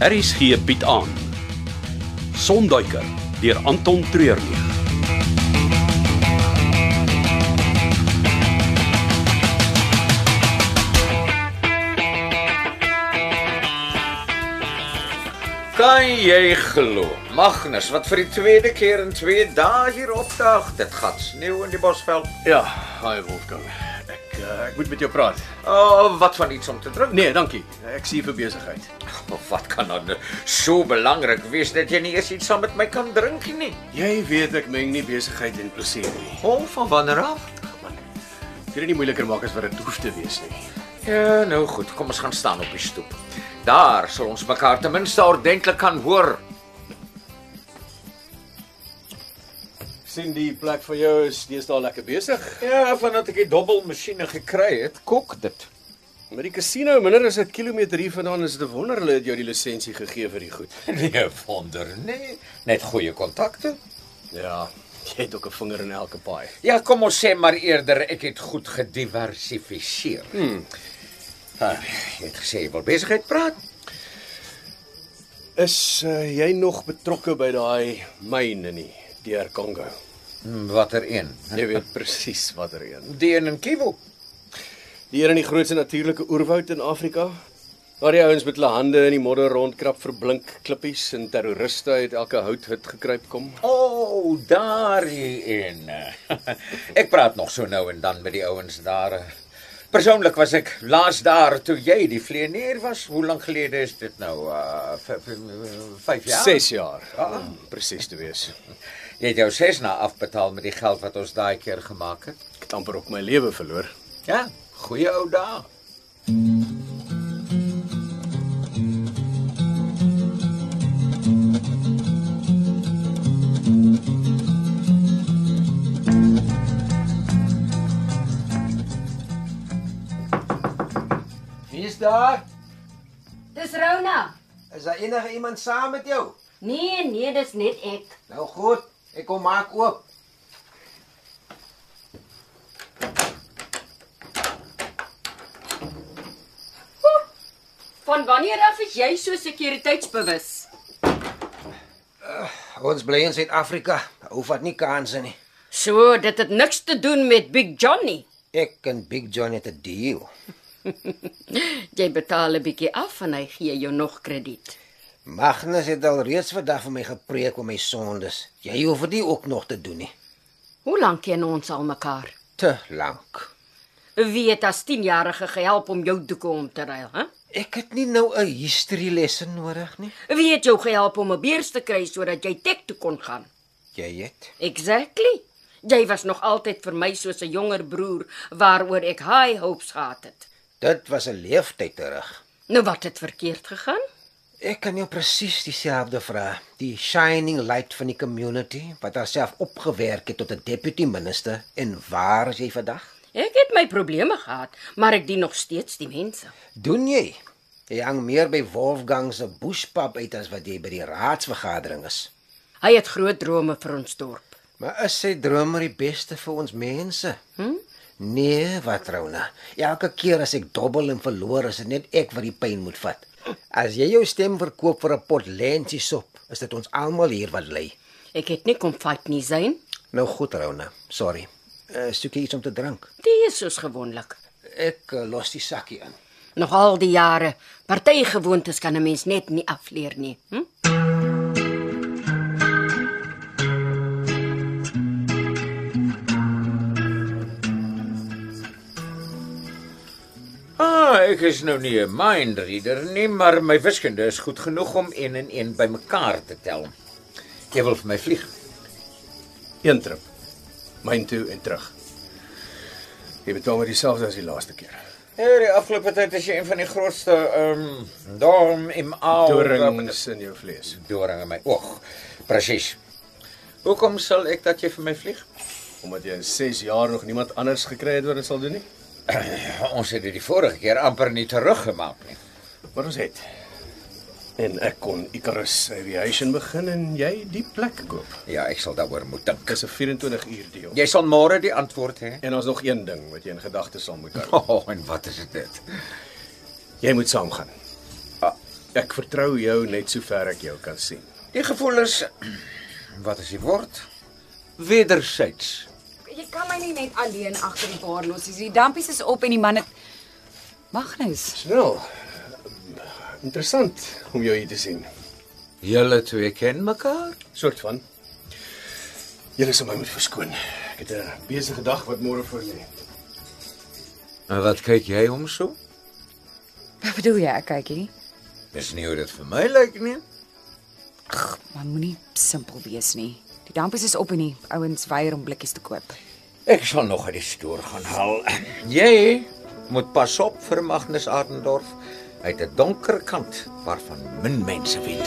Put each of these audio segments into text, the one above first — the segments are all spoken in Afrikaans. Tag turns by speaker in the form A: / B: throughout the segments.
A: Harris gee Piet aan. Sonduiker deur Anton Treurnig.
B: Kan jy glo? Magnus wat vir die tweede keer in 2 dae hier opdaag. Dit gaan sneeu in die Bosveld.
C: Ja, hi Wolfgang. Ek uh, ek moet met jou praat.
B: Oh, wat van iets om te drink?
C: Nee, dankie. Ek sien vir besigheid.
B: Of wat kan dan so belangrik wees dat jy nie eers iets saam met my kan drink nie?
C: Jy weet ek meng nie besigheid en plesier nie.
B: Hom van wanneer af?
C: Man, jy dit nie moeiliker maak as wat dit hoef te wees nie.
B: Ja, nou goed. Kom ons gaan staan op die stoep. Daar sal ons mekaar ten minste ordentlik kan hoor.
C: sien die plek vir jou is deesdae lekker besig.
B: Ja, vandat ek die dobbelmasjiene gekry het, kok dit.
C: Met die kasino minder as 'n kilometer hier vandaan is dit 'n wonder hulle het jou die lisensie gegee vir die goed.
B: Nee, wonder nie. Net goeie kontakte.
C: Ja, jy het ook 'n vinger in elke paai.
B: Ja, kom ons sê maar eerder ek het goed gediversifiseer. Hmm. Ah, jy het gesê jy wil besigheid praat.
C: Is uh, jy nog betrokke by daai myne nie, deur Kongo?
B: Hmm, Watter een?
C: Jy weet presies watter een.
B: Die een in Kivu.
C: Die een in die grootste natuurlike oerwoud in Afrika. Waar die ouens met hulle hande in die modder rondkrap vir blink klippies en terroriste uit elke houthut gekruip kom.
B: O, oh, daardie een. ek praat nog so nou en dan met die ouens daar. Persoonlik was ek laas daar toe jy die vlieënier was. Hoe lank gelede is dit nou? Uh 5 jaar.
C: 6 jaar om presies te wees.
B: Jy het jou 6 na afbetaal met die geld wat ons daai keer gemaak het.
C: Ek het amper ook my lewe verloor.
B: Ja, goeie ou dae.
D: Wie is daar?
E: Dis Rona.
D: Is daar enige iemand saam met jou?
E: Nee, nee, dis net ek.
D: Nou goed, ek kom maak oop.
E: Van wanneer af is jy so sekuriteitsbewus?
D: Ons bly in Suid-Afrika. Hou vat nie kanse nie.
E: So, dit het niks te doen met Big Johnny.
D: Ek en Big John het 'n deal.
E: Jy betaal 'n bietjie af en hy gee jou nog krediet.
D: Magnus het al reeds vandag vir my gepreek oor my sondes. Jy hoef dit nie ook nog te doen nie.
E: Hoe lank ken ons al mekaar?
D: Te lank.
E: Wie het as 10-jarige gehelp om jou doeke om te ruil, hè?
D: Ek het nie nou 'n history lesse nodig nie.
E: Wie het jou gehelp om 'n beurs te kry sodat jy tek toe kon gaan?
D: Jy het.
E: Exactly. Jy was nog altyd vir my soos 'n jonger broer waaroor ek high hopes gehad het.
D: Dit was 'n leeftyd terug.
E: Nou wat het verkeerd gegaan?
D: Ek kan jou presies dieselfde vra. Die shining light van die community wat haarself opgewerk het tot 'n deputy minister en waar is jy vandag?
E: Ek het my probleme gehad, maar ek dien nog steeds die mense.
D: Doen jy? Jy hang meer by Wolfgang se bushpap uit as wat jy by die raadsvergadering is.
E: Hy het groot drome vir ons dorp.
D: Maar is sy dromer die beste vir ons mense? Hm? Nee, wat Rona. Elke keer as ek dobbel en verloor, is dit net ek wat die pyn moet vat. As jy jou stem verkoop vir 'n pot lensie sop, is dit ons almal hier wat ly.
E: Ek het nie kom fight nie, Zain.
D: Nou goed, Rona. Sorry. Uh, soek jy iets om te drink?
E: Dit is soos gewoonlik.
D: Ek uh, los die sakkie in.
E: Nog al die jare, partygewoontes kan 'n mens net nie afleer nie. Hm?
B: Ah, ek is nou nie 'n mind reader nie, maar my wiskunde is goed genoeg om 1 en 1 bymekaar te tel. Jy wil vir my vlieg.
C: Een trip. Myn toe en terug. Jy betaal maar dieselfde as die laaste keer.
B: Ja, die afgelope tyd is jy een van die grootste ehm um, dorm im aal
C: Dorings in jou vlees.
B: doring in my oog. Presies. Hoekom sal ek dat jy vir my vlieg?
C: Omdat jy in 6 jaar nog niemand anders gekry het wat dit sal doen nie.
B: Ons het dit die vorige keer amper nie teruggemaak nie.
C: Maar ons het en ek kon Icarus Aviation begin en jy die plek koop.
B: Ja, ek sal daaroor moet dink.
C: Dis 'n 24 uur deal.
B: Jy sal môre die antwoord hê.
C: En ons nog een ding wat jy in gedagte sal moet hou.
B: Oh, en wat is dit?
C: Jy moet saamgaan. Ah, Ek vertrou jou net sover ek jou kan sien.
B: Die gevoel is wat is die woord? Wederzijds.
F: Jy kan my nie net alleen agter die bar los nie. Die dampies is op en die man het Magnus.
C: Snel. Interessant om jou hier te sien.
B: Julle twee ken mekaar?
C: Soort van. Julle sal my moet verskoon. Ek het 'n besige dag wat môre voor lê.
B: En wat kyk jy hom so?
F: Wat bedoel jy? Ek kyk hier nie.
B: Dis nie hoe dit vir my lyk nie.
F: Maar moenie simpel wees nie. Die dampies is op en die ouens weier om blikkies te koop.
B: Ek sal nog uit die stoor gaan haal. Jy moet pas op vir Magnus Arendorf uit 'n donker kant waarvan min mense weet.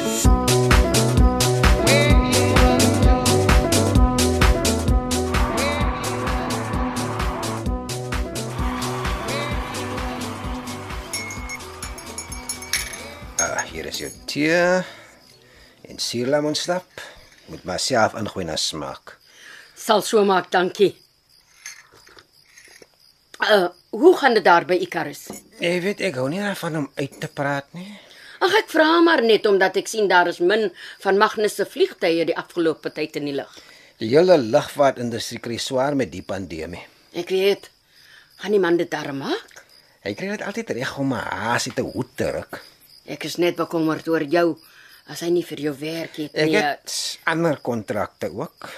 D: Ah, hier is jou tee en suurlemoensap. Moet maar self ingooi na smaak.
E: Sal so maak, dankie. Uh, hoe gaan dit daar by Icarus?
D: Jy weet ek hou nie daarvan om uit te praat nie.
E: Ag ek vra maar net omdat ek sien daar is min van Magnus se vliegtye die afgelope tyd in die lug.
D: Die hele lugvaartindustrie kry swaar met die pandemie.
E: Ek weet. Gaan die man dit darm maak?
D: Hy kry dit altyd reg om 'n haas uit 'n hoed te ruk.
E: Ek is net bekommerd oor jou as hy nie vir jou werk het
D: Ek
E: nie. eh,
D: het ander kontrakte ook.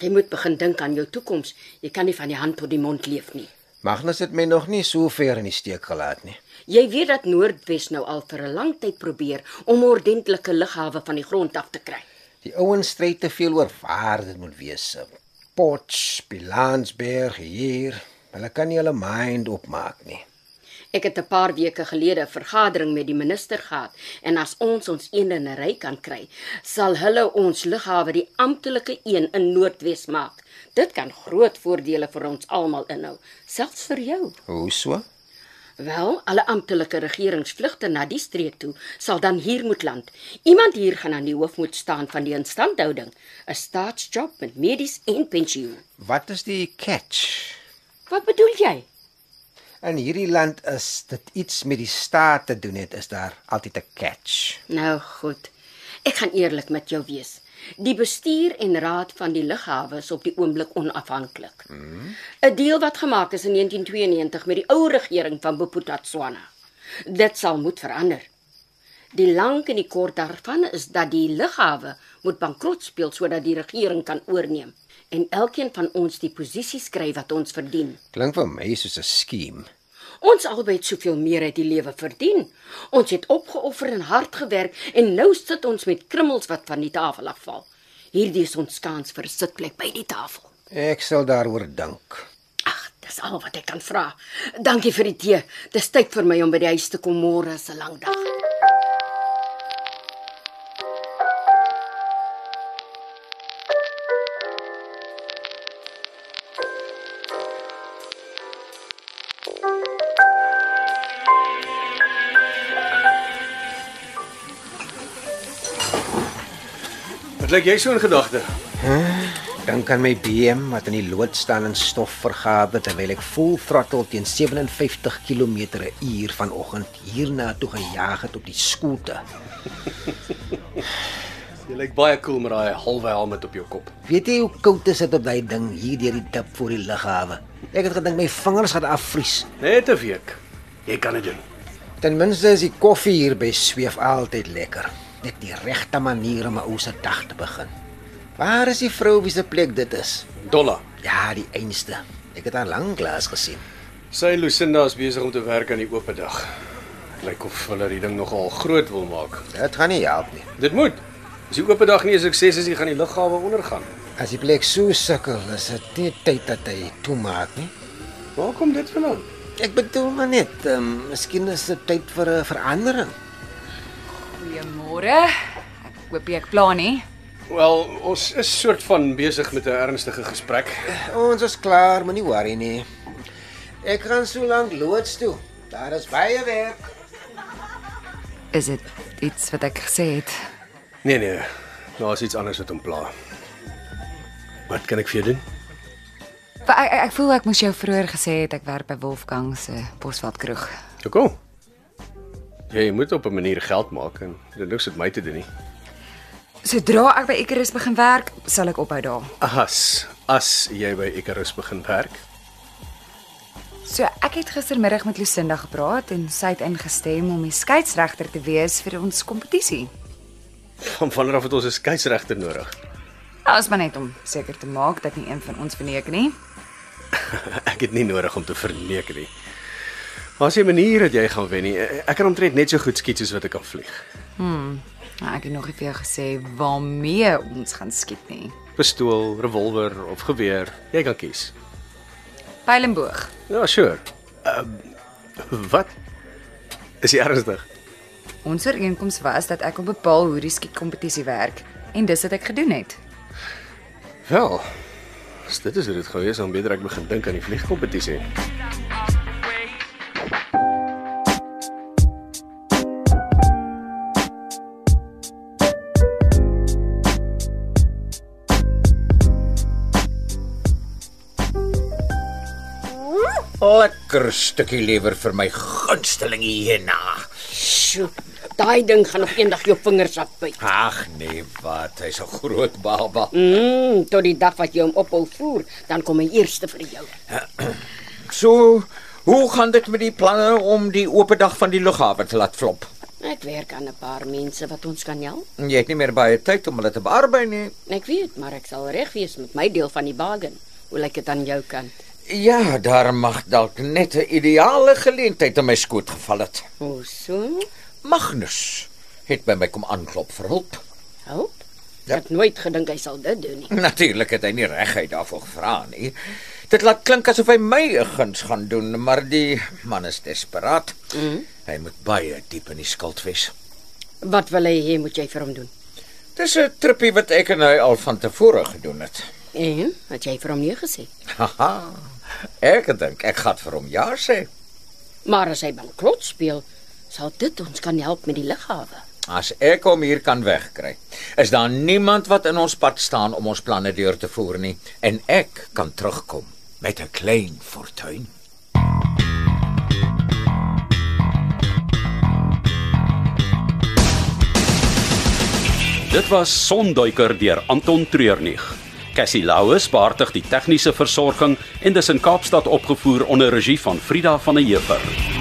E: Jy moet begin dink aan jou toekoms. Jy kan nie van die hand tot die mond leef nie.
D: Magnus het my nog nie so ver in die steek gelaat nie.
E: Jy weet dat Noordwes nou al vir 'n lang tyd probeer om 'n ordentlike lughawe van die grond af te kry.
D: Die ouens stry te veel oor waar dit moet wees. Potch, Pilansberg hier. Hulle kan nie hulle mind opmaak nie.
E: Ek het 'n paar weke gelede 'n vergadering met die minister gehad en as ons ons een in 'n ry kan kry, sal hulle ons lughawe die amptelike een in Noordwes maak. Dit kan groot voordele vir ons almal inhou, selfs vir jou.
D: Hoe so?
E: Wel, alle amptelike regeringsvlugte na die streek toe sal dan hier moet land. Iemand hier gaan aan die hoof moet staan van die instandhouding, 'n staatsjob met medies en pensioen.
D: Wat is die catch?
E: Wat bedoel jy?
D: In hierdie land is dit iets met die staat te doen het, is daar altyd 'n catch.
E: Nou goed. Ek gaan eerlik met jou wees. Die bestuur en raad van die lughawe is op die oomblik onafhanklik. 'n Deel wat gemaak is in 1992 met die ou regering van Bophuthatswana. Dit sal moet verander. Die lank en die kort daarvan is dat die lughawe moet bankrot speel sodat die regering kan oorneem en elkeen van ons die posisies kry wat ons verdien.
D: Klink vir my soos 'n skiem.
E: Ons albei het soveel meer uit die lewe verdien. Ons het opgeoffer en hard gewerk en nou sit ons met krummels wat van die tafel afval. Hierdie is ons kans vir 'n sitplek by die tafel.
D: Ek sal daaroor dink.
E: Ag, dis al wat ek kan vra. Dankie vir die tee. Dis tyd vir my om by die huis te kom môre se lang dag.
C: Wat lyk jy so in gedagte?
D: Dink aan my BM wat in die lood staan en stof vergader terwyl ek vol throttle teen 57 km/h vanoggend hierna toe gejaag het op die skooter.
C: Jy lyk baie cool met daai halwe helm op jou kop.
D: Weet jy hoe koud is dit op daai ding hier deur die dip voor die lughawe? Ek het gedink my vingers gaan afvries.
C: Net 'n week. Jy kan dit doen.
D: Ten minste is die koffie hier by Sweef altyd lekker. Net die regte manier om 'n ou se dag te begin. Waar is die vrou wie se plek dit is?
C: Dollar.
D: Ja, die einste. Ek het haar lanklaas gesien.
C: Sy Lucinda is besig om te werk aan die oop dag. Dit lyk of hulle die ding nogal groot wil maak.
D: Dit gaan nie help nie.
C: Dit moet. As die oop dag nie 'n sukses is nie, gaan die lughawe ondergaan.
D: As die plek so sukkel, is dit nie tyd dat hy toemaak nie.
C: Waar kom dit vandaan?
D: Ek bedoel maar net, ehm, um, miskien is dit tyd vir 'n verandering.
F: Goeiemôre. Ek hoop jy ek pla nie.
C: Wel, ons is soort van besig met 'n ernstige gesprek.
D: Ons is klaar, moenie worry nie. Ek gaan so lank loods toe. Daar is baie werk.
F: Is dit iets wat ek gesê het?
C: Nee nee, daar's iets anders wat hom pla. Wat kan ek vir jou doen?
F: Maar ek, ek ek voel ek moes jou vroeër gesê het ek werk by Wolfgang se Bosveld kroeg.
C: Hoekom? Jy moet op 'n manier geld maak en dit niks met my te doen nie.
F: Sodra ek by Icarus begin werk, sal ek ophou daar.
C: As as jy by Icarus begin werk.
F: So ek het gistermiddag met Lucinda gepraat en sy het ingestem om die skeieregter te wees vir ons kompetisie.
C: Van vanaf af het ons 'n skeieregter nodig.
F: Nou is maar net om seker te maak dat nie een van ons verneek nie.
C: Ek het nie nodig om te verneek nie. Daar's 'n manier dat jy gaan wen nie. Ek kan omtrent net so goed skiet soos wat ek kan vlieg.
F: Nou, ek het nog nie vir jou gesê waarmee ons gaan skiet nie.
C: Pistool, revolver of geweer, jy kan kies.
F: Pylenboog.
C: Ja, sure. Uh, wat? Is jy ernstig?
F: Ons ooreenkoms was dat ek wil bepaal hoe die skietkompetisie werk en dis wat ek gedoen het.
C: Wel. As dit is hoe dit gaan wees, dan beter ek begin dink aan die vliegkompetisie.
D: Lekker stukkie lewer vir my gunsteling hierna.
E: Sjoe, daai ding gaan nog eendag jou vingers afbyt.
D: Ag nee, wat, hy's 'n groot baba.
E: Mm, tot die dag wat jy hom ophou voer, dan kom hy eerste vir jou.
D: So, hoe gaan dit met die planne om die oop dag van die lughawe te laat flop?
E: Ek werk aan 'n paar mense wat ons kan help.
D: Jy het nie meer baie tyd om hulle te bearbei nie.
E: Ek weet, maar ek sal reg wees met my deel van die bargain. Hoe lyk dit aan jou kant?
D: Ja, daar mag dalk net 'n ideale geleentheid in my skoot geval het.
E: O, so.
D: Magnus het by my kom aanklop vir hulp.
E: Help. Ek het nooit gedink hy sal dit doen nie.
D: Natuurlik het hy nie reguit daarvoor gevra nie. Dit laat klink asof hy my 'n guns gaan doen, maar die man is desperaat. Mm. Hy moet baie diep in die skuld wees.
E: Wat wil hy hê moet jy vir hom doen?
D: Dis 'n trippie wat ek en hy al van tevore gedoen het.
E: En wat jy vir hom nie gesê.
D: Haha. Ek dink ek gaan vir hom ja sê.
E: Maar as hy bankrot speel, sal dit ons kan help met die lughawe.
D: As ek hom hier kan wegkry, is daar niemand wat in ons pad staan om ons planne deur te voer nie en ek kan terugkom met 'n klein fortuin.
A: Dit was Sonduiker deur Anton Treurnig. Cassie Louws beheerdig die tegniese versorging en dis in Kaapstad opgevoer onder regie van Frida van der Heever.